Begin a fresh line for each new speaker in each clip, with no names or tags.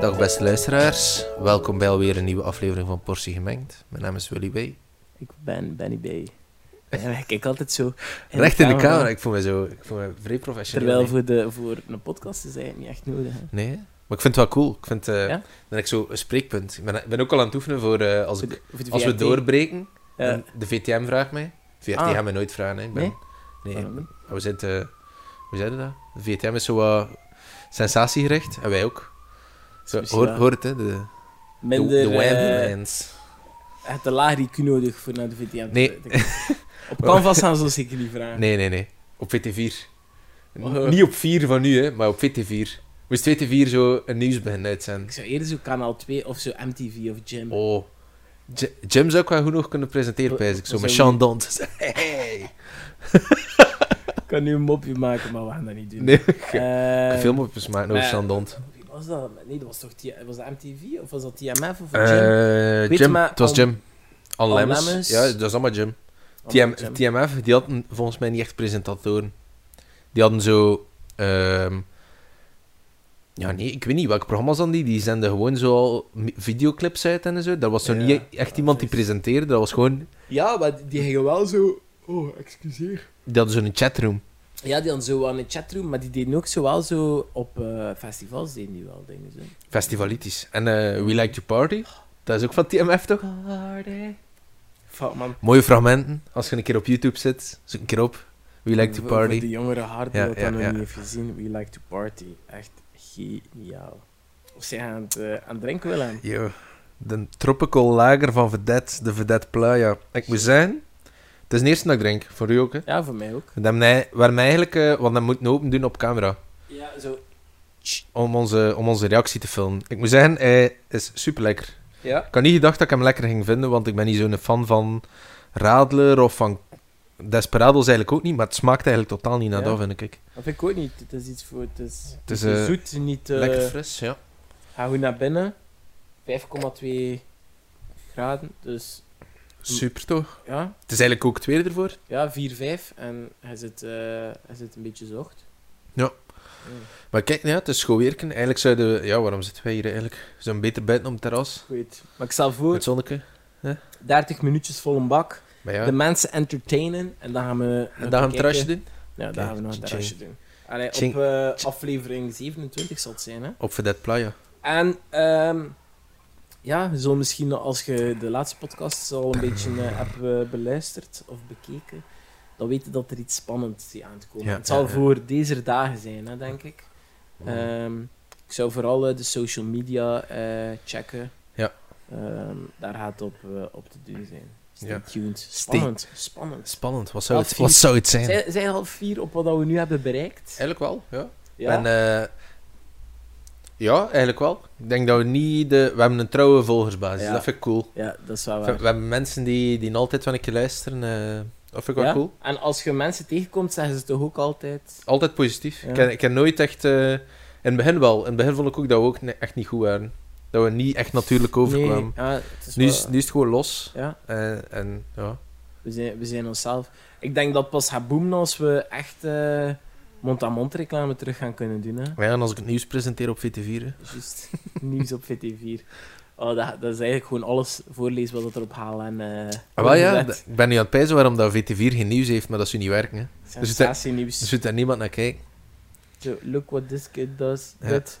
Dag beste luisteraars, welkom bij alweer een nieuwe aflevering van Portie Gemengd. Mijn naam is Willy B.
Ik ben Benny B. En ik kijk altijd zo.
Recht in de camera, ik voel me zo ik voel me vrij professioneel.
Terwijl
nee.
voor, de, voor een podcast is eigenlijk niet echt nodig. hè.
Nee, hè? maar ik vind het wel cool. Ik vind, eh,
Ja?
dan heb ik zo een spreekpunt. Ik ben, ik ben ook al aan het oefenen voor eh, als,
Voor
ik,
de- voor de
als we
VRT.
doorbreken.
Ja.
en De VTM vraagt mij. VRT
Ah.
gaan mij nooit vragen. Hè. Ik ben-
Nee? Ah.
nee, Ah,
Waarom niet?
we zijn te, hoe zeiden dat? De VTM is zo wat sensatiegericht en wij ook. Zo,
Dus
hoor,
ja,
hoor het, hè? De,
Minder.
de, de
eh,
Wildlands.
je hebt een lager IQ nodig voor naar de VTM. te-
Nee.
te- Op Canvas gaan ze ons zeker niet vragen.
Nee, nee, nee. Op VT4. N-
Oh.
Niet op 4 van nu, hè, maar op VT4. Moest VT4 zo een nieuws beginnen
Ik
uitzenden.
zou eerder zo kanaal 2 of zo MTV of Jim.
Oh. J- Jim zou ik wel goed nog kunnen presenteren,
Wat-
pijs ik. Zo
wat
met
zou
Sean Dont. Hey.
Ik kan nu een mopje maken, maar we gaan dat niet doen.
Nee,
Eh,
film op nou, eens maken over
maar-
Sean Dont.
Wie was dat? Nee, dat was toch T- was dat MTV of was dat TMF of Jim?
Eh,
Weet je
Jim.
maar,
Het was
An-
Jim. An
An
Lemmens.
Lemmens.
Ja, dat was allemaal Jim.
Oh,
TM,
Jim.
TMF, die hadden volgens mij niet echt presentatoren. Die hadden zo... ehm, ja, nee, ik weet niet. Welke programma's dan die? Die zenden gewoon zo al mi- videoclips uit en zo. Dat was zo
Ja,
niet e-,
ja,
echt iemand die
juist.
presenteerde. Dat was gewoon...
Ja, maar die gingen wel zo. Oh, excuseer.
Die hadden zo'n chatroom.
Ja, die dan zo aan de chatroom, maar die deden ook zo wel zo op eh, festivals, deden die wel dingen zo.
Festivalitis. En eh, We Like to Party. Dat is ook van TMF, toch?
Fuck man.
Mooie fragmenten. Als je een keer op YouTube zit, zoek een keer op. We Like to
Voor- voor
Party.
De jongere hard
Ja,
dat
ja,
nog
ja.
niet heeft gezien, We Like to Party. Echt geniaal. Of zijn aan het, eh, aan het drinken willen. aan?
Yo, de tropical lager van Vedette, de Vedette Playa. Ik moet zijn. het is de eerste dat ik drink, voor u ook. Hè.
Ja, voor mij ook.
We hebben mij- we hebben eigenlijk, eh, want dat moet open doen op camera,
Ja, zo.
om onze, om onze reactie te filmen. Ik moet zeggen, hij is super lekker.
Ja.
Ik had niet gedacht dat ik hem lekker ging vinden, want ik ben niet zo'n fan van Radler of van Desperados eigenlijk ook niet, maar het smaakt eigenlijk totaal niet naar
Ja.
dat, vind ik.
Dat vind ik ook niet. Het is iets voor. Het is,
Het is,
niet te
eh,
zoet, niet. eh,
lekker fris, ja.
Ga goed naar binnen. 5,2 graden. Dus
Super toch?
ja,
Het is eigenlijk ook tweede ervoor.
ja 4, 5. En hij zit, eh, hij zit een beetje zocht.
Ja.
Mm.
Maar kijk, ja, het is gewoon werken. Eigenlijk zouden we... Ja, waarom zitten wij hier eigenlijk? We zijn beter buiten op het terras.
Goed. Maar ik stel
Met
voor,
het zonneke.
30 minuutjes vol een bak.
Maar ja,
De mensen entertainen. En dan gaan we...
en dan gaan we een terrasje doen.
Ja, dan
Oké,
gaan we nog een
tjing,
terrasje doen. Allee, op
Tjing.
eh, aflevering 27 zal het zijn, hè.
Op Vedette Playa.
En, ehm ja, je zult misschien, als je de laatste podcast al een beetje eh, hebt eh, beluisterd of bekeken, dan weten dat er iets spannends is aan te komen.
Ja,
het zal
ja, ja.
voor deze dagen zijn, hè, denk ik. Ehm, ik zou vooral eh, de social media eh, checken.
Ja.
Ehm, daar gaat het op, eh, op te doen zijn. Stay
Ja.
tuned. Spannend. Spannend.
Spannend. Wat zou,
Half
het,
vier.
wat zou het zijn?
Zij, zij half vier op wat dat we nu hebben bereikt.
Eigenlijk wel, ja.
Ja.
En, eh, ja, eigenlijk wel. Ik denk dat we niet... De... We hebben een trouwe volgersbasis.
Ja.
Dat vind ik cool.
ja, dat is wel
We
waar.
hebben mensen die, die altijd van een keer luisteren. eh, dat vind ik wel
Ja?
cool.
En als je mensen tegenkomt, zeggen ze toch ook altijd...
Altijd positief.
Ja.
Ik, heb, ik heb nooit echt... eh, In het begin wel. In het begin vond ik ook dat we ook ne- echt niet goed waren. Dat we niet echt natuurlijk overkwamen.
Nee, ja, het is
Nu
wel-
is, nu is het gewoon los.
Ja,
En, en ja.
we zijn, we zijn onszelf. Ik denk dat het pas gaat boomen als we echt eh, mond-aan-mond reclame terug gaan kunnen doen. Hè.
Maar ja, en als ik het nieuws presenteer op VT4... hè.
Juist, nieuws op VT4. Oh, dat, dat is eigenlijk gewoon alles voorlezen wat erop halen en... eh,
Ah, wel ja,
inderdaad.
d- ik ben nu aan het pijzen waarom dat VT4 geen nieuws heeft, maar dat zou niet werken. Hè.
Sensatienieuws.
Dus zit daar niemand naar kijken.
Zo, Look what this kid does.
Ja.
Dit.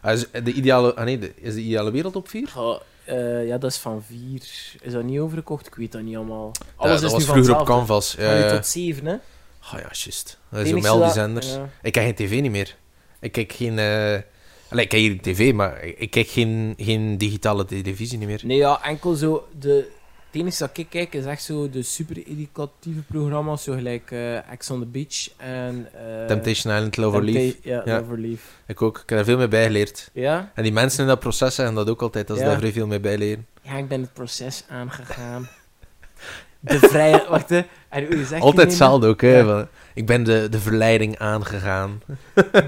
Ah, is de ideale, ah nee, de- is de ideale wereld op 4?
Goh, eh, ja, dat is van 4. Is dat niet overgekocht? Ik weet dat niet allemaal. Alles
dat
is
was
nu
vroeger op
vanzelf, hè.
Canvas.
Van nu
eh.
tot 7, hè?
Ah ja, juist.
Het
Dat is zo
enige
mel die
dat-
zenders.
ja.
Ik kijk geen tv niet meer. Ik kijk geen... eh, Allee, ik kijk hier tv, maar ik ik kijk geen, geen digitale televisie niet meer.
Nee, ja, enkel zo. De, het enige dat ik kijk is echt zo de super educatieve programma's, zo gelijk eh Ex on the Beach en. eh,
Temptation Island, Love or
Tempta-
Leave.
Ja,
Ja.
Love or Leave.
Ik ook. Ik heb er veel mee bijgeleerd.
Ja?
En die mensen in dat proces zeggen dat ook altijd, dat ze
Ja.
daar vrij veel mee bijleren.
ja, ik ben het proces aangegaan. De vrije. Wacht, hè. En hoe je
Altijd
zegt het nemen?
hetzelfde ook, hè.
Ja.
van, Ik ben de, de verleiding aangegaan.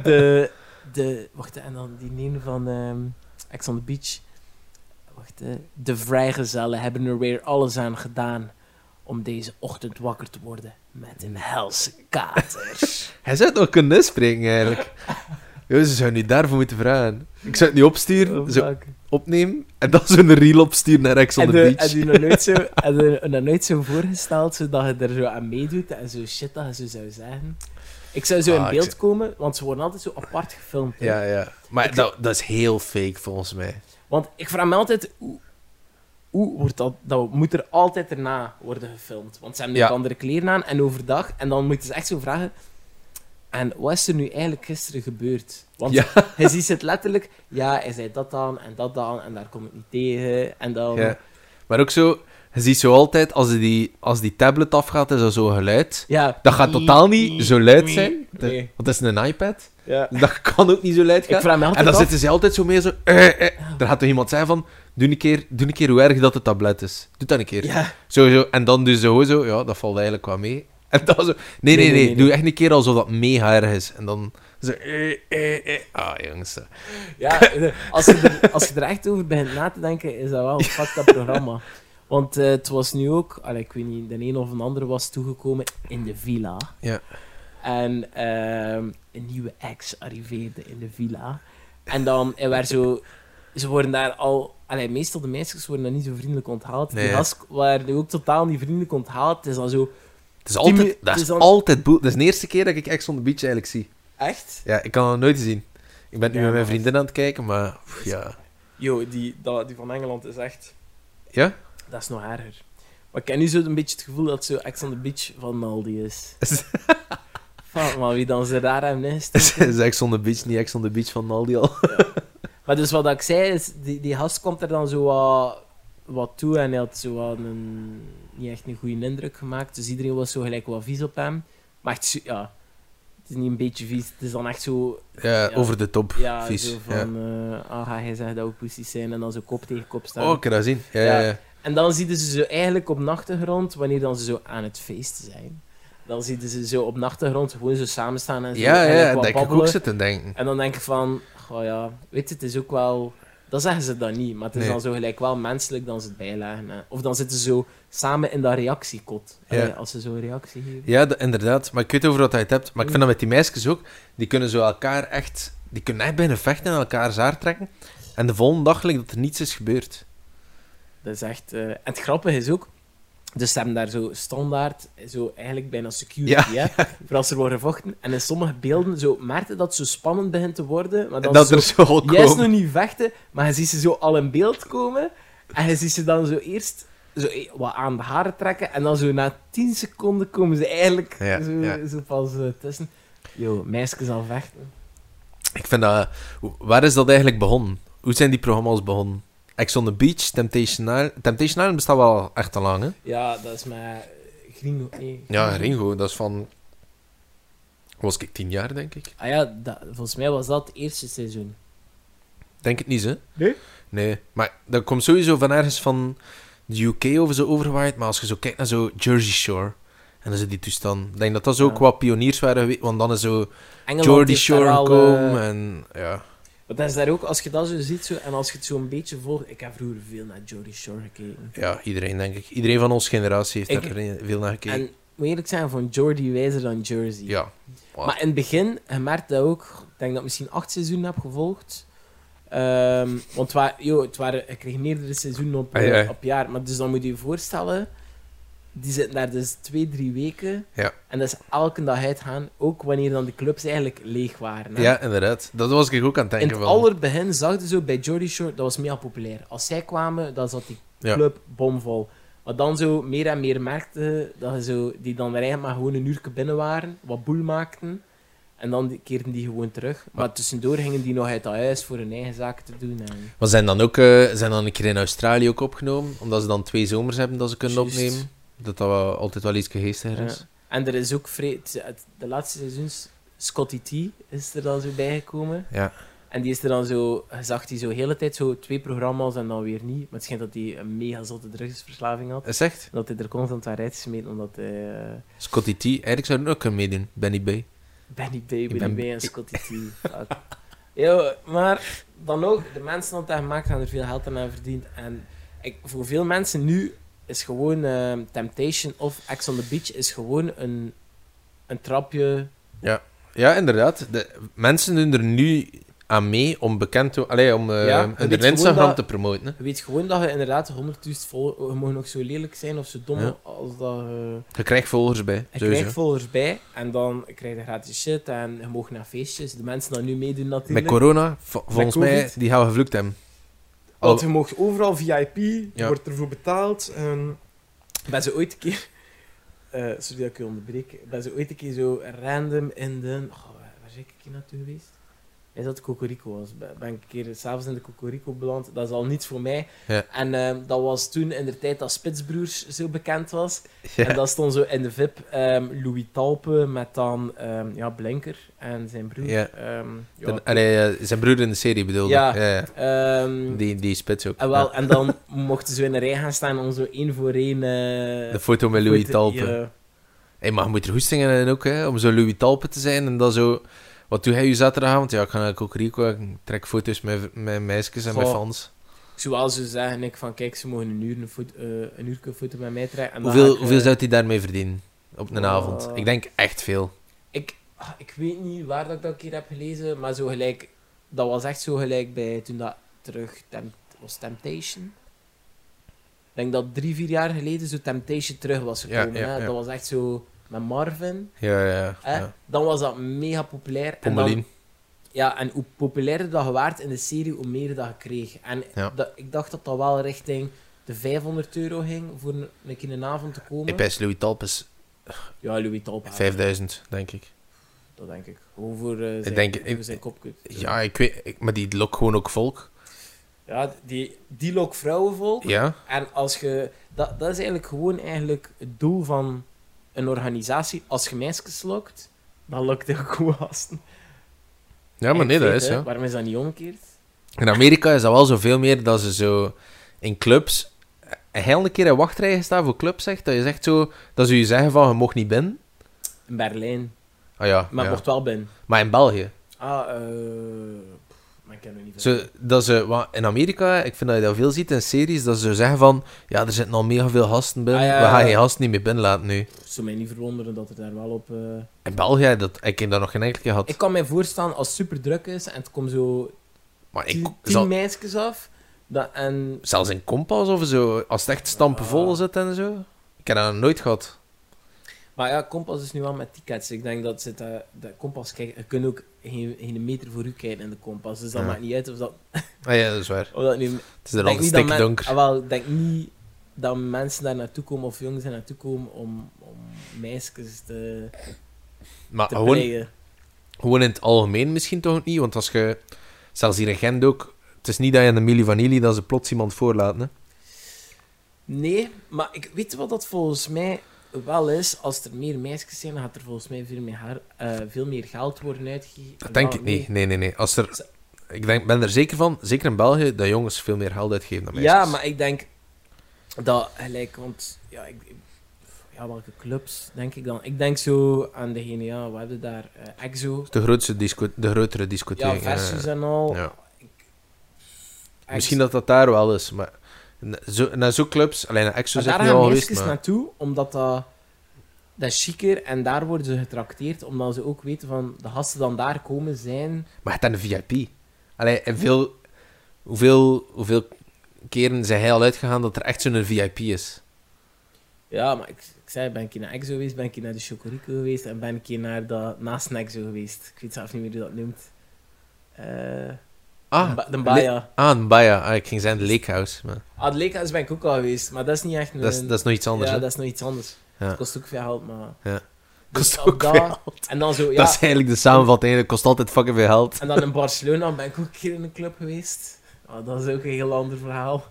De, de. Wacht, hè, en dan die neem van ehm Ex on the Beach. Wacht, hè. De vrijgezellen hebben er weer alles aan gedaan om deze ochtend wakker te worden met een helse kater.
Hij zou het nog kunnen spreken, eigenlijk. Ja, ze zou niet daarvoor moeten vragen. Ik zou het niet opsturen,
Oh,
zo
fuck.
opnemen en dan zo'n reel opsturen naar Ex on
En
the
de-
Beach.
en die nog nooit zo- en die nog nooit zo voorgesteld zodat je er zo aan meedoet en zo shit dat je zo zou zeggen. Ik zou zo
Ah,
in
ik
beeld
zou-
komen, want ze worden altijd zo apart gefilmd. hè.
Ja, ja. Maar
Ik-
dat, dat is heel fake volgens mij.
Want ik vraag me altijd hoe, hoe wordt dat, dat moet er altijd erna worden gefilmd. Want ze hebben nu
Ja.
andere kleren aan en overdag. En dan moeten ze echt zo vragen. En wat is er nu eigenlijk gisteren gebeurd? Want
Ja.
hij ziet het letterlijk. Ja, hij zei dat dan en dat dan en daar kom ik niet tegen. En dan.
Ja. Maar ook zo, je ziet zo altijd als die, als die tablet afgaat, is er zo'n geluid.
Ja.
Dat gaat totaal niet zo luid zijn. De-
Nee.
Want dat is een iPad.
Ja.
Dat kan ook niet zo luid
Ik
gaan.
vraag me altijd
En dan
af.
zitten ze altijd zo mee zo... eh, eh. Er gaat toch iemand zijn van... Doe een, keer, doe een keer hoe erg dat het tablet is. Doe dat een keer.
Ja.
Zo, zo. En dan dus zo, zo. Ja, dat valt eigenlijk wel mee. En dan zo... Nee, nee, nee.
nee, nee.
Doe echt een keer alsof dat mega erg is. En dan zo... eh, eh, eh. Ah, jongens.
Ja, als je, er, als je er echt over begint na te denken, is dat wel een fucked up programma. Want eh, het was nu ook, allee, ik weet niet, de een of de ander was toegekomen in de villa.
Ja.
En ehm, een nieuwe ex arriveerde in de villa. En dan, er werd zo, ze worden daar al, allee, meestal de meisjes worden daar niet zo vriendelijk onthaald.
Nee.
Die gast waren nu ook totaal niet vriendelijk onthaald. Het is dan zo,
Het is altijd...
minu-
Dat
het
is
is al-
altijd boel. Dat is de eerste keer dat ik Ex on the Beach eigenlijk zie.
echt?
Ja, ik kan het nooit zien. Ik ben nu
Ja,
met mijn
maar-
vriendin aan het kijken, maar... pff, ja.
Yo, die, dat, die van Engeland is echt...
Ja?
Dat is nog erger. Maar ik heb nu zo een beetje het gevoel dat zo Ex on the Beach van Aldi is. Fuck, maar wie dan ze daar aan is.
Is Ex on the Beach niet Ex on the Beach van Aldi al?
Maar dus wat ik zei is, die, die gast komt er dan zo wat, wat toe en hij had zo wat een, niet echt een goede indruk gemaakt. Dus iedereen was zo gelijk wat vies op hem. Maar echt, zo- ja, het is niet een beetje vies. Het is dan echt zo,
Ja,
Ja.
over de top.
ja,
Vies.
zo van, eh, ah, ga jij zeggen dat we poesies zijn en dan zo kop tegen kop staan.
Oh, ik kan dat zien. Ja, ja.
Ja.
ja.
En dan zien ze zo eigenlijk op nachtengrond, wanneer dan ze zo aan het feest zijn. Dan zien ze zo op nachtengrond gewoon zo samen staan en zo.
Ja,
en
ja,
like
en
wat
dat ik ook
babbelen.
zit te denken.
En dan denk ik van, goh ja, weet je, het is ook wel... Dat zeggen ze dan niet, maar het is
Nee.
dan zo gelijk wel menselijk dan ze het bijleggen. hè. Of dan zitten ze zo samen in dat reactiekot.
Ja.
Allee, Als ze zo een reactie geven.
Ja, d- inderdaad. Maar ik weet over wat hij het hebt. Maar ik vind dat met die meisjes ook. Die kunnen zo elkaar echt... Die kunnen echt bijna vechten en elkaar zaar trekken. En de volgende dag lijkt dat er niets is gebeurd.
Dat is echt... eh, En het grappige is ook... Dus ze hebben daar zo standaard, zo eigenlijk bijna security, hè? Voor als er worden vochten. En in sommige beelden zo merkte dat het zo spannend begint te worden. Maar
en
dan
dat
ze zo
er zo al
Jij is
komen.
nog niet vechten, maar je ziet ze zo al in beeld komen. En je ziet ze dan zo eerst zo e- wat aan de haren trekken. En dan zo na 10 seconden komen ze eigenlijk
Ja,
zo,
ja.
zo pas eh, tussen. Yo, meisjes al vechten.
Ik vind dat... hoe- Waar is dat eigenlijk begonnen? Hoe zijn die programma's begonnen? Ex on the Beach, Temptation Island... Temptation Island bestaat wel echt al lang, hè?
Ja, dat is maar Gringo. Nee.
Ja, Ringo, dat is van... Was ik tien jaar, denk ik?
Ah ja, dat- volgens mij was dat het eerste seizoen.
Denk het niet, hè?
Nee?
Nee. Maar dat komt sowieso van ergens van de UK over zo overwaaid. Maar als je zo kijkt naar zo Jersey Shore... En dan zit die toestand. Ik denk dat dat zo
Ja.
qua pioniers waren geweest. Want dan is zo
Engeland
Geordie
heeft daar
Shore
wel,
gekomen.
eh,
En ja...
Want dat is daar ook, als je dat zo ziet zo, en als je het zo een beetje volgt. Ik heb vroeger veel naar Jodie Shore gekeken.
Ja, iedereen, denk ik. Iedereen van onze generatie heeft
Ik-
daar erin- veel naar gekeken.
En moet je eerlijk zijn, van Jordy wijzer dan Jersey.
Ja. Wow.
Maar in het begin, je merkt dat ook. Ik denk dat ik misschien acht seizoenen heb gevolgd. Ehm, want wa- yo, het waren, ik kreeg meerdere seizoenen op,
Ah, ja, ja.
op jaar. Maar dus dan moet je je voorstellen, die zitten daar dus twee, drie weken.
Ja.
En dat is elke dag uitgaan. Ook wanneer dan de clubs eigenlijk leeg waren. hè.
Ja, inderdaad. Dat was ik ook aan het
In
denken.
het
van.
allerbegin zag je zo bij Jordy Shore, dat was mega populair. Als zij kwamen, dan zat die
Ja.
club bomvol. Wat dan zo meer en meer merkte, je, dat je zo, die dan er eigenlijk maar gewoon een uurtje binnen waren, wat boel maakten. En dan die- keerden die gewoon terug. Maar tussendoor gingen die nog uit dat huis voor hun eigen zaken te doen. En...
Maar zijn dan ook eh, zijn dan een keer in Australië ook opgenomen. Omdat ze dan twee zomers hebben dat ze kunnen
Juist.
opnemen. Dat dat wel, altijd wel iets geestiger is.
Ja. En er is ook vrij, het- het- de laatste seizoens, Scotty T is er dan zo bijgekomen.
Ja.
En die is er dan zo, je zag die zo de hele tijd zo twee programma's en dan weer niet. Maar het schijnt dat hij een mega zotte drugsverslaving had.
Is echt?
Dat hij er constant aan rijdt gesmeten, omdat hij... eh,
Scotty T. Eigenlijk zou er ook kunnen meedoen. Benny B.
Benny B, Benny
ben-
B en Scotty T. Fuck. Yo, maar dan ook, de mensen die dat gemaakt hebben er veel geld aan verdiend. En ik, voor veel mensen nu is gewoon ehm, Temptation of Ex on the Beach is gewoon een, een trapje
Ja. Ja, inderdaad. De, mensen doen er nu aan mee om bekend te... Allee, om eh
Ja,
hun
het is
Instagram
gewoon
te promoten. hè.
Je weet gewoon dat je inderdaad 100.000 volgers... Je mag nog zo lelijk zijn of zo dom
Ja.
als dat je...
Je krijgt volgers bij,
Je
sowieso.
krijgt volgers bij en dan krijg je gratis shit en je mag naar feestjes. De mensen die nu meedoen
Met
natuurlijk.
corona, vo- volgens mij,
COVID.
die gaan gevloekt hebben.
Want je mag overal VIP,
Ja.
wordt ervoor betaald. En...
Ben ze ooit een keer... eh, sorry dat ik je onderbreek. Ben ze ooit een keer zo random in de... Oh, waar waar ben ik een keer naartoe geweest? Is dat Cocorico was. Ben ben ik een keer s'avonds in de Cocorico beland. Dat is al niets voor mij.
Ja.
En ehm, dat was toen in de tijd dat Spitsbroers zo bekend was.
Ja.
En dat stond zo in de VIP ehm, Louis Talpe met dan ehm, ja, Blinker en zijn broer.
Ja.
Ehm, ja,
Dan- allee, eh, zijn broer in de serie bedoelde.
Ja.
ja.
ehm,
Die, die spits ook.
en, wel,
Ja.
en dan mochten ze in een rij gaan staan om zo één voor één... eh,
De foto met Louis
te-
Talpe.
ja.
Hey, maar je moet er goestingen in ook, hè, om zo Louis Talpe te zijn. En dan zo... Wat doe jij je zaterdagavond? Ja, ik ga naar Cocorico, ik trek foto's met, met meisjes en met
Goh.
fans.
Zowel ze zeggen ik van kijk, ze mogen een uur een, foto, eh, een uur een foto met mij trekken. En dan ga
Hoeveel,
ik,
hoeveel
eh,
zou hij daarmee verdienen? Op een
Oh.
avond? Ik denk echt veel.
ik, ah, ik weet niet waar dat ik dat een keer heb gelezen, maar zo gelijk... Dat was echt zo gelijk bij toen dat terug temp, was Temptation. Ik denk dat drie, vier jaar geleden zo Temptation terug was
Ja,
gekomen.
ja,
hè.
ja.
Dat was echt zo met Marvin.
Ja, ja,
Hè?
ja.
Dan was dat mega populair. En dan,
Pommelien.
Ja, en hoe populairder dat je waard in de serie, hoe meer dat je kreeg. En
Ja.
dat, ik dacht dat dat wel richting de 500 euro ging voor een, een keer een avond te komen.
Ik pijs Louis Talpes
Ah, Ja, Louis Talpa.
5000, denk ik.
Dat denk ik. Gewoon voor eh, zijn,
denk- ik-
voor zijn kopkut.
Ja, ik weet... ik- maar die lokt gewoon ook volk.
Ja, die, die lok vrouwenvolk.
Ja.
En als je... Dat, dat is eigenlijk gewoon eigenlijk het doel van een organisatie. Als je meisjes lokt, dan lokt je ook goed gasten.
Ja, maar nee, dat is, ja.
Waarom is dat niet omgekeerd?
In Amerika is dat wel zoveel meer dat ze zo in clubs eh, een hele keer in wachtrijen staan voor clubs, zegt. Dat is echt zo... Dat ze je zeggen van, je mocht niet binnen.
In Berlijn.
Ah ja,
Maar
ja.
mocht wel binnen.
Maar in België.
Ah, eh... pff, Maar ik ken er niet
Zo, dat ze, wa- in Amerika, ik vind dat je dat veel ziet in series, dat ze zo zeggen van, ja, er zitten al mega veel gasten binnen,
Ah, ja,
we
ja,
gaan
ja.
geen gasten niet meer binnenlaten nu.
Het zou mij niet verwonderen dat er daar wel op... eh,
In België, dat, ik heb dat nog geen enkele keer gehad.
Ik kan mij voorstellen als het super druk is en het komt zo
maar ik,
tien, tien
zal-
meisjes af. Dat, en
zelfs in Kompas of zo, als het echt stampenvol
Ah.
zit en zo, ik heb dat nog nooit gehad.
Maar ja, Kompas is nu wel met tickets. Ik denk dat zit eh, dat Kompas kijken. Je kunt ook geen, geen meter voor u kijken in de Kompas. Dus dat
Ja.
maakt niet uit of dat,
Ah ja, dat is waar.
of dat nu.
Het is er
denk
altijd
niet dat men-
stikdonker.
Ah, wel, ik denk niet dat mensen daar naartoe komen of jongens daar naartoe komen om, om meisjes te,
Maar
te
Ah, gewoon,
plegen.
Gewoon in het algemeen misschien toch niet, want als je... Zelfs hier in Gent ook... Het is niet dat je in de milie vanille dat ze plots iemand voorlaten, hè.
Nee, maar ik weet wat dat volgens mij wel is. Als er meer meisjes zijn, dan gaat er volgens mij veel meer, haar- eh, veel meer geld worden uitgegeven.
Dat denk
Wel,
ik niet. Nee, nee, nee. Als er... Ik denk, ben er zeker van, zeker in België, dat jongens veel meer geld uitgeven dan meisjes.
Ja, maar ik denk dat gelijk, want ja, ik, ik- ja, welke clubs denk ik dan? Ik denk zo aan degene, ja, we hebben daar eh, EXO,
De, grootste disco de grotere discotheek.
ja, Versus en al.
ja.
Ex-
Misschien dat dat daar wel is, maar... na- Zo, naar zo'n clubs... Alleen naar Exo
Maar
zit
daar
nu
gaan
al
meisjes
geweest, maar...
naartoe, omdat dat, dat is chiquer en daar worden ze getrakteerd, omdat ze ook weten van de gasten dan daar komen zijn.
Maar het is een VIP. Allee, en veel... Hoeveel, hoeveel keren zijn hij al uitgegaan dat er echt zo'n VIP is?
Ja, maar ik, ik zei, ben ik hier naar EXO geweest, ben ik hier naar de Chocorico geweest en ben ik hier naar dat naast EXO geweest. Ik weet zelf niet meer hoe dat noemt. Eh
Ah,
de Ba- de
Le-
Baia.
Ah, een Baia. Ah, ik ging zijn de Lake House. Maar
Adleka's ben ik ook al geweest, maar dat is niet echt een...
dat, is, dat is nog iets anders.
Ja,
hè?
dat is nog iets anders.
Ja.
Het kost ook veel geld, maar...
Ja.
Dus
Kost
op
ook
dat-
veel
En dan zo, ja...
Dat is eigenlijk de samenvatting. hè. Dat kost altijd fucking veel geld.
En dan in Barcelona ben ik ook een keer in een club geweest. Ah, dat is ook een heel ander verhaal.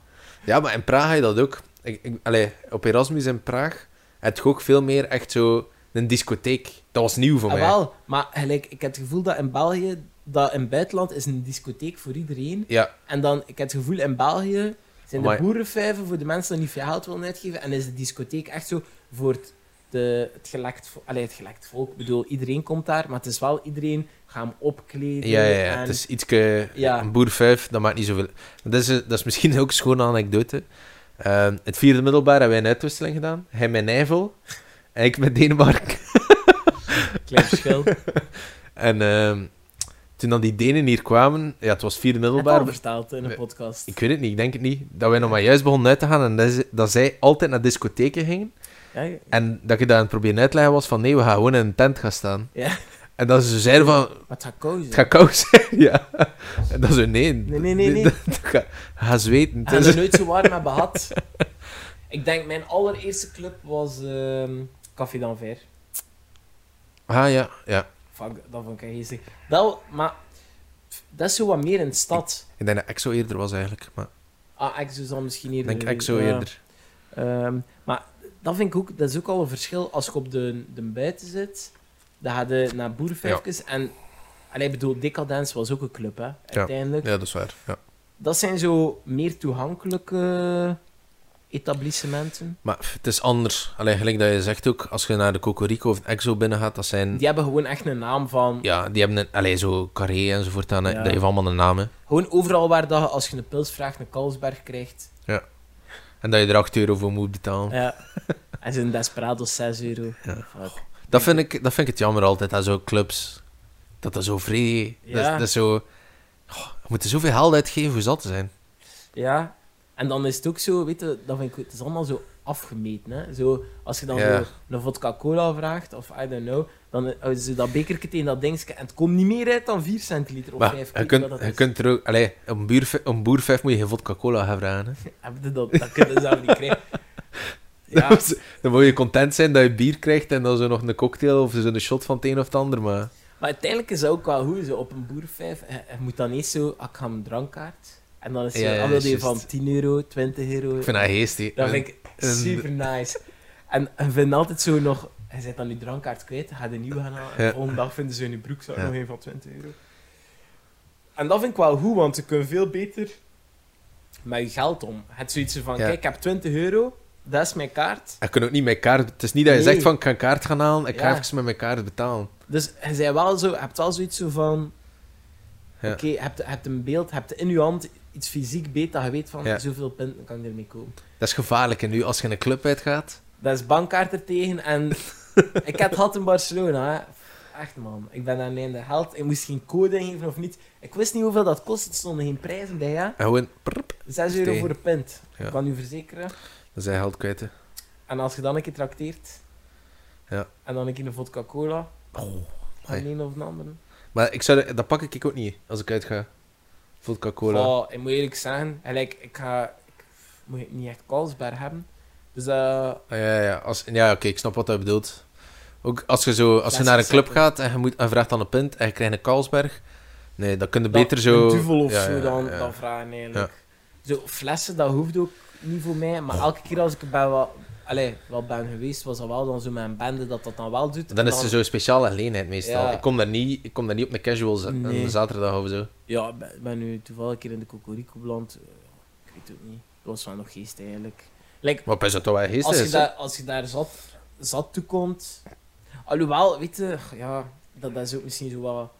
Ja, maar in Praag had je dat ook. Ik, ik, allee, op Erasmus in Praag had je ook veel meer echt zo een discotheek. Dat was nieuw voor
Ah,
mij.
wel, maar gelijk, ik heb het gevoel dat in België... Dat in het buitenland is een discotheek voor iedereen.
Ja,
En dan, ik heb het gevoel, in België zijn de
Amai.
boerenvijven voor de mensen die niet veel geld willen uitgeven. En is de discotheek echt zo voor het, de, het, gelekt, vo- allee, het gelekt volk. Ik bedoel, iedereen komt daar, maar het is wel iedereen gaan opkleden.
ja, ja, ja.
en-
Het is ietske...
Ja.
Een boervijf, dat maakt niet zoveel... Dat is, eh, dat is misschien ook een schone anekdote. Ehm, het vierde middelbaar hebben wij een uitwisseling gedaan. Hij met Nijvel en ik met Denemarken.
Klein verschil.
En ehm, toen dan die Denen hier kwamen, ja, het was vierde middelbaar.
Heb je al verteld in een
Nee.
podcast.
Ik weet het niet, ik denk het niet. Dat wij nog maar juist begonnen uit te gaan en dat, ze- dat zij altijd naar discotheken gingen.
Ja, ja.
En dat ik daar aan het proberen uit te leggen was van nee, we gaan gewoon in een tent gaan staan.
Ja.
En dat ze zeiden van,
Maar het gaat koud zijn.
het gaat koud zijn, ja. En dat ze nee.
Nee, nee, nee, nee.
Dat, dat gaat- gaat zweten.
Ik heb
Dus-
er nooit zo warm hebben gehad. Ik denk, mijn allereerste club was ehm Café d'Anver.
Ah ja, ja.
Fuck, dat vond ik echt geestig. Dat, maar pff, dat is zo wat meer in de stad.
Ik denk dat Exo eerder was eigenlijk. Maar
Ah, Exo zal misschien
ik
hier...
denk
eh,
Exo
ja.
eerder.
Ehm, maar dat vind ik ook, dat is ook al een verschil. Als ik op de, de buiten zit, dan ga je naar boerenvijfjes. En, allee, ik bedoel, Decadence was ook een club, hè, uiteindelijk.
Ja, dat is waar. Ja.
Dat zijn zo meer toegankelijke etablissementen.
Maar pff, het is anders. Alleen gelijk dat je zegt ook, als je naar de Cocorico of Exo binnen gaat, dat zijn...
Die hebben gewoon echt een naam van...
Hm. Ja, die hebben een, allee, zo carré enzovoort. aan, hè.
Ja.
Dat heeft allemaal een naam. Hè.
Gewoon overal waar dat je, als je een pils vraagt, een Kalsberg krijgt.
En dat je er 8 euro voor moet betalen.
Ja. En zijn Desperados 6 euro. Fuck.
Dat, vind ik, dat vind ik het jammer altijd, dat zo clubs... Dat dat zo vrij...
Ja.
Dat, dat is zo... Oh, we moeten zoveel geld uitgeven voor zat te zijn.
Ja. En dan is het ook zo, weet je, dat vind ik, het is allemaal zo afgemeten. Hè? Zo, als je dan
Ja.
zo een vodka-cola vraagt, of I don't know, dan houden ze dat bekertje tegen dat dingetje en het komt niet meer uit dan 4 centiliter of
Maar
5.
je kunt, je kunt er ook... Allee, een, buurf, een boervijf moet je geen vodka-cola gaan vragen. Hè.
Heb je dat? Dat kun je zelf niet krijgen. Ja,
Dan, moet- dan moet je content zijn dat je bier krijgt en dan zo nog een cocktail of zo een shot van het een of het ander. Maar...
maar uiteindelijk is dat ook wel goed. Zo op een boervijf, je, je moet dan eerst zo, ah, ik ga een drankkaart. En dan is
Ja,
het
ja,
dan wil je
juist.
van 10 euro, 20 euro.
Ik vind dat geestig.
Dat vind ik
En-
super nice. En we vinden altijd zo nog... Hij zet dan je drankkaart kwijt, ga de nieuwe gaan halen. en
Ja.
de
Volgende dag vinden ze in je broek
Ja.
nog een van 20 euro. En dat vind ik wel goed, want ze kunnen veel beter...
volgende Met je geld om. Het is zoiets van,
Ja.
kijk, ik heb 20 euro, dat is mijn kaart.
Ik kan ook niet mijn kaart... Het is niet dat je
Nee.
zegt van, ik ga een kaart gaan halen, ik ga
Ja.
even met mijn kaart betalen.
Dus je zei wel zo, je hebt wel zoiets zo van...
Ja.
Oké, je, hebt, je hebt een beeld, je hebt in je hand iets fysiek beet dat je weet van,
Ja.
zoveel punten kan ik ermee komen.
Dat is gevaarlijk. En nu, als je in een club uitgaat...
Dat is bankkaart er tegen en... ik heb het gehad in Barcelona, hè. Echt man, ik ben daarmee in de held. Ik moest geen code ingeven of niet. Ik wist niet hoeveel dat kost, er stonden geen prijzen bij, hè.
En gewoon... prrp,
6 euro
Tegen.
voor een pint.
Ja.
Ik kan u verzekeren.
dan zijn geld kwijt, hè.
En als je dan een keer trakteert.
Ja.
En dan een keer een vodka cola.
Oh.
Van
Amai.
een of een andere.
Maar ik zou, dat pak ik ook niet, als ik uitga. Vodka cola.
Oh, ik moet eerlijk zeggen. Gelijk, ik ga... Ik moet niet echt Carlsberg hebben. Dus eh
Ah, ja, ja. Als, ja oké, ik snap wat hij bedoelt. Ook als je, zo, als je
Dat is
naar een club
gezellig.
gaat en je, moet, en vraagt dan een punt en je krijgt een Carlsberg... Nee, dan kun je
Dat-
beter zo...
een duvel of
of
Ja,
zo
ja,
dan,
ja.
dan vragen eigenlijk. Zo, flessen, dat hoeft ook niet voor mij. Maar elke keer als ik er ben wel... Allee, wel ben geweest, was dat wel dan zo mijn bende dat dat dan wel doet.
Dan
En
is er zo'n speciale gelegenheid meestal.
Ja.
Ik, kom daar niet, ik kom daar niet op een casual za-
Nee.
een zaterdag of zo.
Ja, ik ben- ik ben nu toevallig een keer in de Cocorico beland. Eh, Ik weet het ook niet. Dat was wel nog geest eigenlijk. Like,
Maar pas dat dat wel geest
als, je
is. hè.
daar, als je daar zat, zat toekomt. Alhoewel, weet je, ja, dat, dat is ook misschien zo wat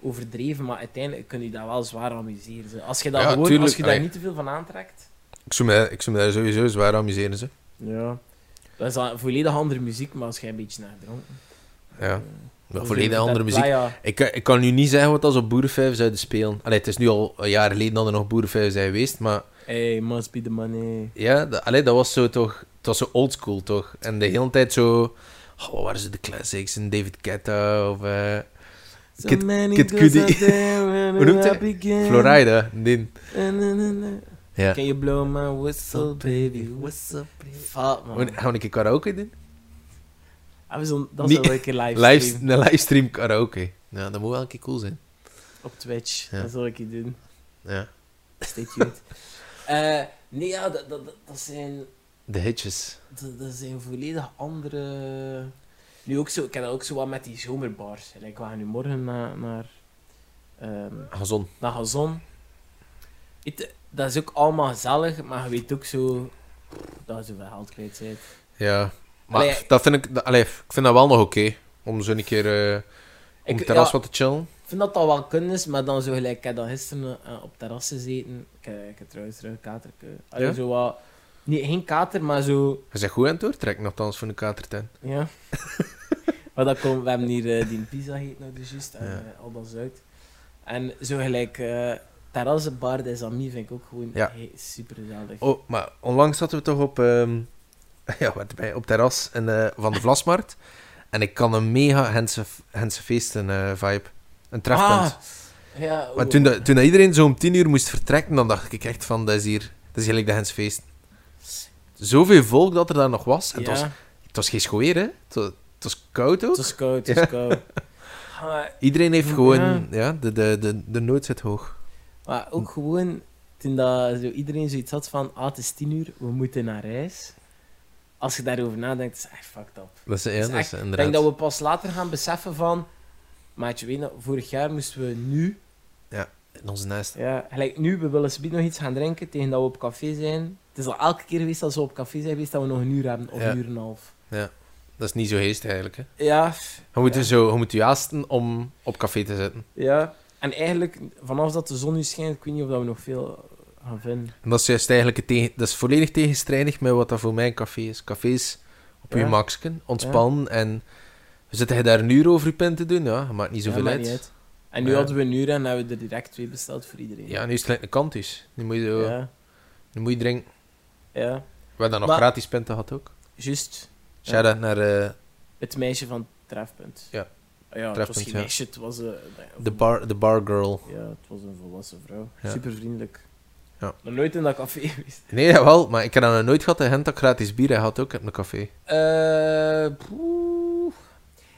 overdreven, maar uiteindelijk kun je daar wel zwaar amuseren. zo. Als je, dat
Ja,
gewoon,
tuurlijk,
als je daar
allee.
niet te veel van aantrekt,
Ik zou, me, ik zou me daar sowieso zwaar amuseren. Ze.
ja. dat is dan volledig andere muziek, maar als jij een beetje naar dronken. Eh,
Ja. Ja,
Dan
volledig
zit je
andere
op de
muziek.
playa.
Ik, kan- ik kan nu niet zeggen wat als op Boerenvijf zouden spelen. Allee, het is nu al een jaar geleden dat er nog Boerenvijf zijn geweest, maar
Hey, must be the money.
ja, dat, allee, dat was zo toch... Het was zo oldschool, toch? En de hele tijd zo... Oh, wat waren ze de classics? En David Guetta of... eh,
So
Kid-
many
Kid
girls
Cudi.
out there when
Hoe noemt
I
hij?
begin.
Florida. Nee.
Na, na, na, na.
Ja.
Can you blow my whistle, baby? What's up, baby? Fuck, man.
Gaan we een keer karaoke doen?
Ah, we zullen- dat
Nee.
is wel een keer live
Live, een livestream karaoke. Ja, dat moet wel een keer cool zijn.
op Twitch.
Ja.
Dat zal ik je doen.
Ja.
Stay tuned. Eh, nee, ja, dat, dat, dat- dat zijn,
De hitjes.
dat, dat zijn volledig andere... Nu ook zo, ik heb dat ook zo wat met die zomerbars. Like, we gaan nu morgen naar, naar, ehm,
Gazon.
naar Gazon. Weet je, dat is ook allemaal gezellig, maar je weet ook zo dat je zoveel geld kwijt bent.
Ja. Maar
Allee,
dat vind ik... dat- Allee, ik vind dat wel nog oké. om zo een keer... eh, om
Ik-
het terras
ja.
wat te chillen.
Ik vind dat dat wel kunnen is, maar dan zo gelijk, ik heb dan gisteren eh, op terras gezeten. Ik, heb- ik heb trouwens terug een kater.
Ja?
Zo wat, nee, geen kater, maar zo...
Je zegt goed aan het doortrekken, nogthans, voor een katertent.
Ja. Maar dat komt, we hebben hier eh, die pizza heet nou dus juist, en
Ja.
eh, al dat zuid. En zo gelijk, eh Terrasse Bar des Amis vind ik ook gewoon
Ja.
he- super gezellig.
Oh, maar onlangs zaten we toch op, ehm ja, wat erbij, op terras in, eh, van de Vlasmarkt. En ik kan een mega Hense, Hense feesten eh, vibe. Een trefpunt.
Ah, ja,
maar
oh.
toen, dat- toen dat iedereen zo om tien uur moest vertrekken, dan dacht ik echt van, dat is hier, dat is gelijk de Hense feesten. Zoveel volk dat er daar nog was. En het,
Ja.
was het was geen schoon weer, hè. Het was, het was koud ook.
Het was koud, het was koud. Ah,
Iedereen heeft
Ja.
gewoon, ja, de, de, de, de nood zit hoog.
maar ook gewoon, toen dat zo iedereen zoiets had van, ah, het is tien uur, we moeten naar reis. Als je daarover nadenkt, is het echt fucked up.
Dat is, ja,
is
dat is
echt- Ik
inderdaad...
denk dat we pas later gaan beseffen van, maatje, weet je, nog, vorig jaar moesten we nu,
In onze nest.
ja, gelijk nu, we willen subiet nog iets gaan drinken tegen dat we op café zijn. Het is al elke keer geweest als we op café zijn geweest dat we nog een uur hebben, of
Ja.
een uur en een half.
Dat is niet zo heest eigenlijk, hè.
Ja,
Je moet, je zo, je moet je haasten om op café te zitten.
ja. En eigenlijk, vanaf dat de zon nu schijnt, ik weet niet of dat we nog veel gaan vinden.
En dat is juist eigenlijk het tegen, dat is volledig tegenstrijdig met wat dat voor mij een café is. Cafés op
Ja.
je maksken, ontspannen en zitten je daar een uur over je pen te doen, ja, maakt niet zoveel
Ja, maakt
uit.
niet uit. En nu
Ja.
hadden we een uur en hebben we er direct twee besteld voor iedereen.
Ja, nu is het gelijk een kant dus. Nu moet je, zo-
ja.
nu moet je drinken.
ja.
We hebben dan nog
Maar-
gratis penten gehad ook.
Juist Ja.
Shout-out naar eh,
het meisje van Trefpunt.
Ja.
Ah ja, het
Trefpunt,
was geen
ja.
meisje, het was een...
de, bar, de bar girl.
Ja, het was een volwassen vrouw.
Ja.
Super vriendelijk.
Ja.
Nog nooit in dat café geweest.
Nee, jawel, maar ik heb dan nog nooit gehad dat hen dat gratis bier had ook op een café.
Eh, poeh.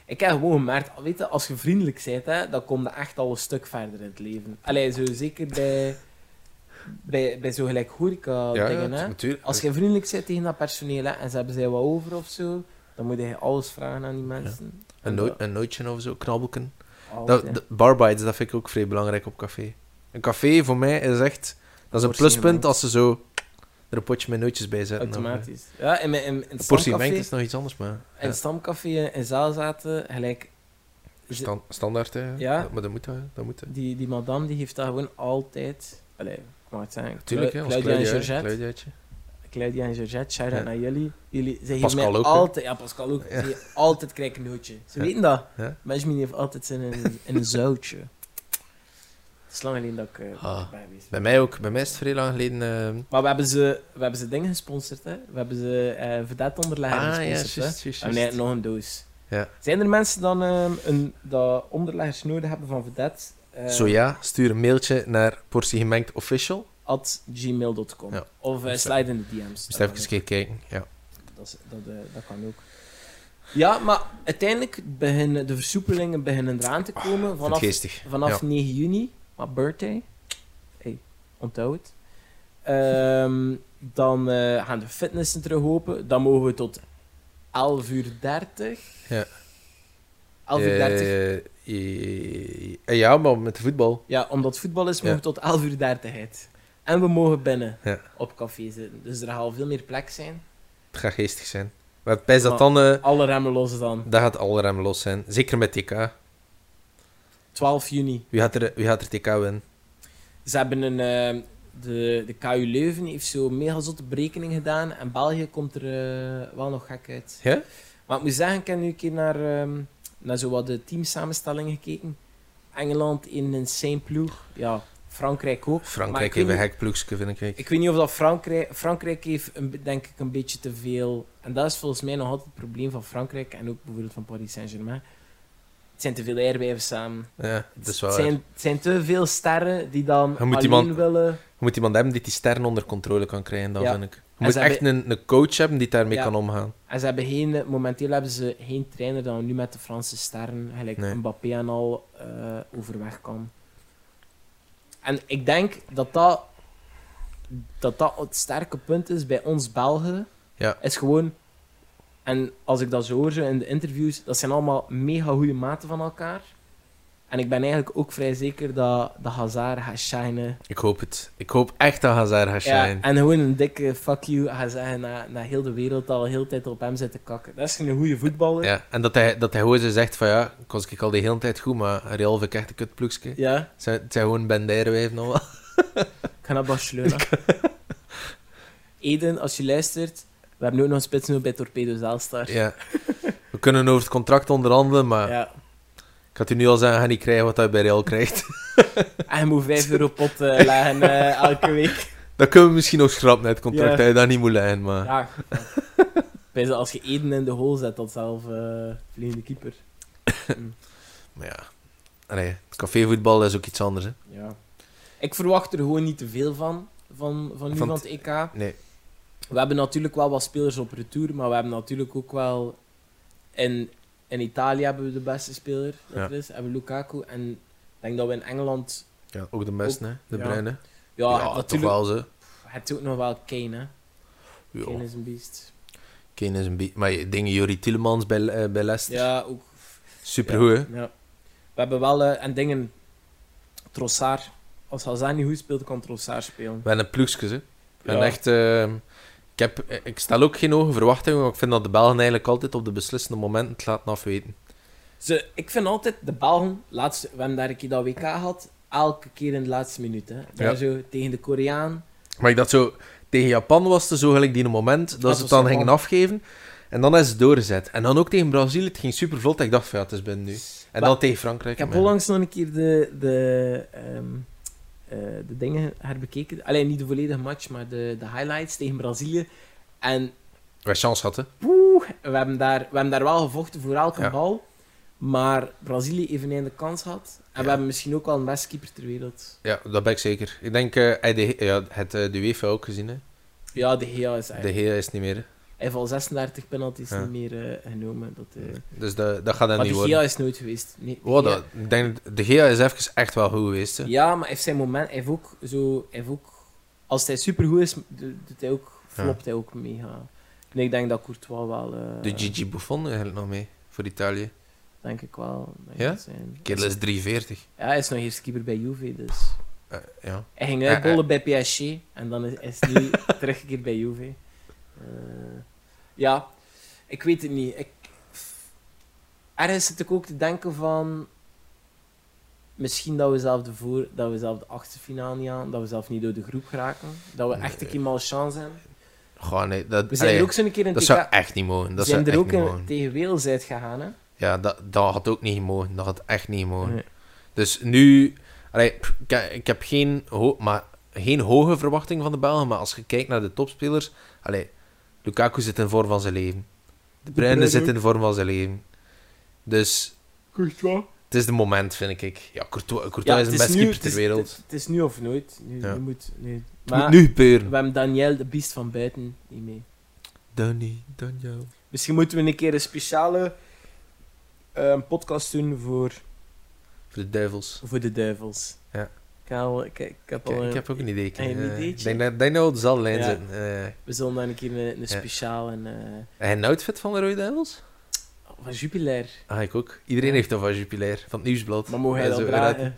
ik heb gewoon gemerkt, weet je, als je vriendelijk bent, hè, dan kom je echt al een stuk verder in het leven. Allee, zo zeker bij, bij, bij zo gelijk horeca-dingen, hè.
natuurlijk.
Als je vriendelijk bent tegen dat personeel hè, en ze hebben zij wat over of zo, dan moet je alles vragen aan die mensen.
Een, noot- een nootje of zo, knabbelken.
Altijd.
Dat, dat- barbites, dat vind ik ook vrij belangrijk op café. Een café voor mij is echt... Dat is een
Portie
pluspunt
gemengd.
als ze zo er een potje met nootjes bij zetten.
Automatisch. Ja, in, mijn- in, in het
nou, Een portie
stamcafé,
gemengd is nog iets anders, maar...
in
Ja,
het stamcafé in zaal zaten, gelijk ze-
stan- standaard, hè.
Ja.
Dat- maar dat moet, hè. Dat moet, hè.
die, die madame die heeft daar gewoon altijd, allee, ik mag het zeggen,
Natuurlijk, hè.
Cla-
Ons
Claudia en
Claudia,
Georgette,
Claudiaatje.
Claudia en Georgette, shout-out
Ja.
naar jullie. jullie ze geven
Pascal
mij
ook, hè.
altijd, ja Pascal ook,
Ja.
ze geven altijd krijg een nootje. Ze
Ja.
weten dat.
Ja.
Management heeft altijd zin in, in een zoutje. Het is lang alleen dat ik eh,
Ah.
erbij geweest ben.
Bij mij ook. Bij mij is het vrij lang geleden... eh,
Maar we hebben ze, we hebben ze dingen gesponsord, hè? We hebben ze eh Vedette onderleggen
Ah, ja,
gesponsord,
juist,
hè?
juist, juist.
En nee, nog een doos.
Ja.
Zijn er mensen dan ehm, een, dat onderleggers nodig hebben van Vedette? eh,
Zo ja, stuur een mailtje naar portiegemengdofficial.
At gmail.com.
Ja.
Of eh, slide in de DM's.
Moest
Dat
even een keer kijken, ja.
kan ook. Dat, is- dat, eh, dat kan ook. Ja, maar uiteindelijk beginnen de versoepelingen beginnen eraan te komen.
Vind het
vanaf
geestig.
Vanaf 9 juni, maar birthday. Hey, onthoud het. Ehm, dan eh, gaan de fitnessen terug open. Dan mogen we tot 11 uur 30.
Ja.
11 uur 30.
Eh, eh, eh, ja, maar met de voetbal.
Ja, omdat voetbal is, mogen
Ja.
we tot 11 uur 30 uit. En we mogen binnen
Ja.
op café zitten. Dus er gaat al veel meer plek zijn.
Het gaat geestig zijn. Maar bij dat
Maar-
dan... eh,
Alle remmen los dan.
Daar gaat alle rem los zijn. Zeker met TK.
12 juni.
Wie gaat er, wie gaat er TK winnen?
Ze hebben een. eh, de, de KU Leuven heeft zo mega zotte berekening gedaan. En België komt er eh, wel nog gek uit.
Ja?
Maar ik moet zeggen, ik heb nu een keer naar, ehm, naar zo wat de teamsamenstelling gekeken. Engeland in een insane ploeg. Ja, Frankrijk ook. Maar ik
Frankrijk
weet
heeft een
niet-
gek ploegje, vind ik.
Ik weet niet of dat Frankrijk... Frankrijk heeft, een, be- denk ik, een beetje te veel... En dat is volgens mij nog altijd het probleem van Frankrijk. En ook bijvoorbeeld van Paris Saint-Germain. Het zijn te veel airwijven samen.
Ja, dat is wel
het,
waar.
zijn, het zijn te veel sterren die dan
Je
alleen
moet die man-
willen...
Je moet iemand hebben die die sterren onder controle kan krijgen, dan
Ja.
vind ik. Je moet
ze
echt een, een coach hebben die daarmee
Ja.
kan omgaan.
En ze hebben geen, momenteel hebben ze geen trainer dan nu met de Franse sterren, gelijk
Nee.
Mbappé en al, eh, overweg kan. En ik denk dat dat, dat dat het sterke punt is bij ons Belgen.
Ja.
Is gewoon, en als ik dat zo hoor zo in de interviews, dat zijn allemaal mega goede maten van elkaar. En ik ben eigenlijk ook vrij zeker dat de Hazard gaat shinen.
Ik hoop het. Ik hoop echt dat Hazard gaat
Ja,
shine.
en gewoon een dikke fuck you gaat zeggen naar, naar heel de wereld al heel de tijd op hem zitten kakken. Dat is een goede voetballer.
Ja, en dat hij, dat hij gewoon zo zegt van ja, ik was ik al de hele tijd goed, maar Real vind ik echt een kutploegje.
Ja,
Het zijn het zijn gewoon bandijrenwijven nog wel.
ik ga naar Barcelona. Eden, als je luistert, we hebben ook nog een spits nu bij Torpedo Zaalstar.
Ja. We kunnen over het contract onderhandelen, maar
Ja.
ik had u nu al zeggen, ga niet krijgen wat hij bij Real krijgt.
En je moet 5 euro pot eh, leggen eh, elke week.
dat kunnen we misschien nog schrappen, hè, het contract,
Ja.
dat je dat niet moet leggen, maar...
Ja. Bij als je Eden in de hole zet, dat zelf eh vliegende keeper.
Maar ja. Allee, het cafévoetbal dat is ook iets anders. Hè.
Ja. Ik verwacht er gewoon niet te veel van, van, van nu
Van
van
het-
het EK.
Nee.
We hebben natuurlijk wel wat spelers op retour, maar we hebben natuurlijk ook wel... In, in Italië hebben we de beste speler, dat
Ja.
er is. Hebben we Lukaku. En ik denk dat we in Engeland...
Ja, ook de beste, hè? De
ja.
bruine.
Ja,
ja toch
natuurlijk...
wel ze.
Het is ook nog wel Kane, hè. Kane
Ja.
is een beest.
Kane is een beetje... Maar je- dingen Jori Tielemans bij, eh, bij Leicester.
Ja, ook...
Supergoed, hè?
Ja. We hebben wel... eh, en dingen... Trossard. Als Hazard niet goed speelt, kan Trossard spelen.
We hebben ploegjes, hè? We hebben
Ja.
echt... eh, ik, heb, ik stel ook geen hoge verwachtingen, maar ik vind dat de Belgen eigenlijk altijd op de beslissende momenten het laten afweten.
Ze, ik vind altijd de Belgen, laatste, we hebben daar een keer dat WK gehad, elke keer in de laatste minuut. Hè. Dan
Ja.
zo tegen de Koreaan.
Maar ik dacht zo... Tegen Japan was het zo gelijk die een moment dat
dat
ze het
was
dan
Japan.
gingen afgeven. En dan is het doorgezet. En dan ook tegen Brazilië, het ging super vlot. Ik dacht van, ja, het is binnen nu. En
Maar
dan tegen Frankrijk.
Ik heb
maar ja.
onlangs nog een keer de, de, ehm, eh, de dingen herbekeken. Alleen niet de volledige match, maar de, de highlights tegen Brazilië. En
Wij chance hadden.
poeh, we, hebben daar, we hebben daar wel gevochten voor elke
Ja.
bal. Maar Brazilië eveneens de kans had. En
Ja.
we hebben misschien ook wel een beste keeper ter wereld.
Ja, dat ben ik zeker. Ik denk, eh, hij de, ja, het eh, de UEFA ook gezien. Hè.
Ja, de Gea is
De
eigenlijk...
Gea is niet meer. hè.
Hij heeft al 36 penalties
Ja.
niet meer eh, genomen. Dat, eh,
Dus dat, dat gaat dan
Maar
niet
de
worden.
Gea is nooit geweest. Nee, de
Wow,
Gea-
dat, ik denk, dat- de Gea is even echt wel goed geweest. Hè.
Ja, maar hij heeft zijn moment. Hij heeft ook zo. Hij heeft ook, als hij supergoed is, do- doet hij ook, flopt hij ook mega. En ik denk dat Courtois wel. eh,
De Gigi Buffon eigenlijk nog mee voor Italië.
Denk ik wel. Denk
Ja?
ik zijn.
Kerel is 43.
Ja, hij is nog eerste keeper bij Juve, dus.
Eh, ja.
Hij ging
Eh, eh.
uitbollen bij PSG en dan is, is hij teruggekeerd bij Juve. Eh, ja, ik weet het niet. Ik, ergens zit ik ook te denken van... Misschien dat we zelf de, voor, dat we zelf de achterfinale niet aan, dat we zelf niet door de groep geraken. Dat we echt een
Nee.
keer mal chance hebben.
Goh, nee, dat,
We zijn
allee,
er ook zo'n keer in
dat
TK
zou echt niet mogen. Dat
zijn
zou
er
echt
ook
niet
in-
mogen.
tegen Wales uitgegaan, hè?
Ja, dat, dat had ook niet mogen. Dat had echt niet mogen.
Nee.
Dus nu... allee, pff, ik, ik heb geen, ho- maar, geen hoge verwachting van de Belgen, maar als je kijkt naar de topspelers... Allee, Lukaku zit in vorm van zijn leven. De Bruyne
Bruyne
zit
ook.
in de vorm van zijn leven. Dus
Courtois.
het is de moment, vind ik. Ja, Courtois, Courtois
Ja,
is de
het
beste
nu-
keeper
het is-
ter wereld.
Het, het is nu of nooit. Nu,
Ja.
nu moet, nu.
Het
Maar
moet nu gebeuren.
we hebben Daniel, de beest van buiten, niet mee.
Danny, Daniel.
Misschien moeten we een keer een speciale eh, podcast doen voor,
Voor de duivels.
voor de duivels.
Ja.
Ik, haal- ik, ik heb
Ik,
al
ik
een-
heb ook een idee. Ik
Oh, een
eh,
ideetje?
ik denk, dat- denk dat we op dezelfde lijn
Ja.
zitten. Eh,
We zullen dan een keer een, een speciaal en, eh, oh,
en een outfit van de Rode Duivels?
van Jupiler.
Ah, ik ook. Iedereen heeft een van Jupiler, van het nieuwsblad.
Maar mogen hij
Eh,
dat
zo, inderdaad.
dragen?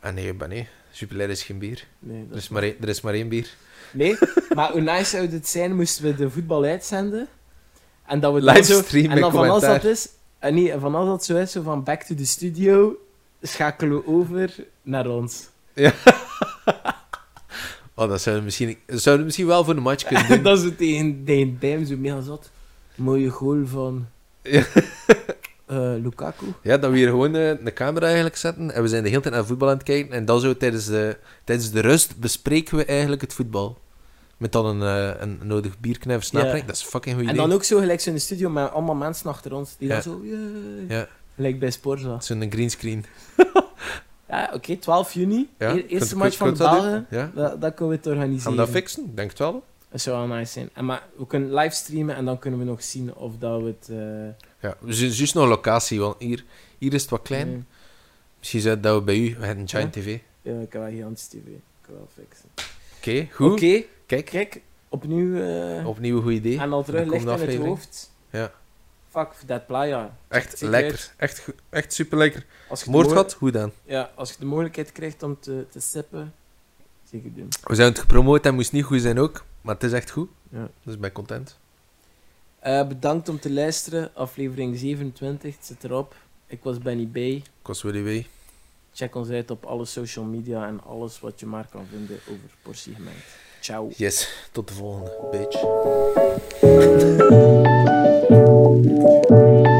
Ah nee, ben nee. Jupiler is geen bier.
Nee,
Er
dat...
is maar één, er is maar één bier.
nee, maar hoe nice zou het zijn moesten we de voetbal uitzenden en dat we dan zo...
Livestream
En
met
dan van als
commentaar.
dat is... En niet, en van als dat zo is, zo van back to the studio, schakelen we over naar ons.
Oh, dat zouden we misschien, dat zouden we misschien wel voor de match kunnen doen.
dat is het tegen tegen Dijm zo mega zat. Mooie goal van
Ja.
eh, Lukaku.
Ja, dat we hier gewoon eh, de camera eigenlijk zetten en we zijn de hele tijd naar voetbal aan het kijken. En dan zo tijdens de, tijdens de rust bespreken we eigenlijk het voetbal. Met dan een, eh, een nodig bierknijf snaprijk.
Ja.
Dat is een fucking goed
En
idee.
dan ook zo gelijk zo in de studio met allemaal mensen achter ons die
Ja.
dan zo... Yeah.
Ja.
Gelijk bij Sporza.
Zo'n greenscreen.
Ja, oké, 12 juni.
Ja.
Eer-
Kunt-
E-, eerste
kunt-
match van de
kunt dat doen?
Belgen.
Ja.
Dat, dat kunnen we het
Gaan
organiseren.
we dat fixen? Ik denk het wel.
Dat zou wel nice zijn. En maar we kunnen livestreamen en dan kunnen we nog zien of dat we het... eh,
Ja, we zien juist nog locatie, want hier, hier is het wat klein.
nee.
Misschien zou dat we bij u, we hebben Giant TV. Oké,
Ja, ik kan wel gigantisch tv. Ik kan wel fixen.
goed.
Oké,
Kijk,
kijk. Opnieuw... eh,
opnieuw een goed idee.
En al terug
Dan komt
ligt
de
in het
aflevering.
hoofd.
Ja.
Fuck that playa.
Echt
Ziet
lekker. Echt, goed- echt super lekker.
Als je de
Moord
mo-
gehad? Hoe dan?
Ja, als je de mogelijkheid krijgt om te, te sippen, zeker doen.
We zijn het gepromoot en moest niet goed zijn ook. Maar het is echt goed.
Ja.
Dus ik ben content.
Eh, bedankt om te luisteren. Aflevering 27 het zit erop. Ik was Benny B.
Kost weer die wee.
Check ons uit op alle social media en alles wat je maar kan vinden over portie gemengd. Ciao.
Yes, tot de volgende, bitch.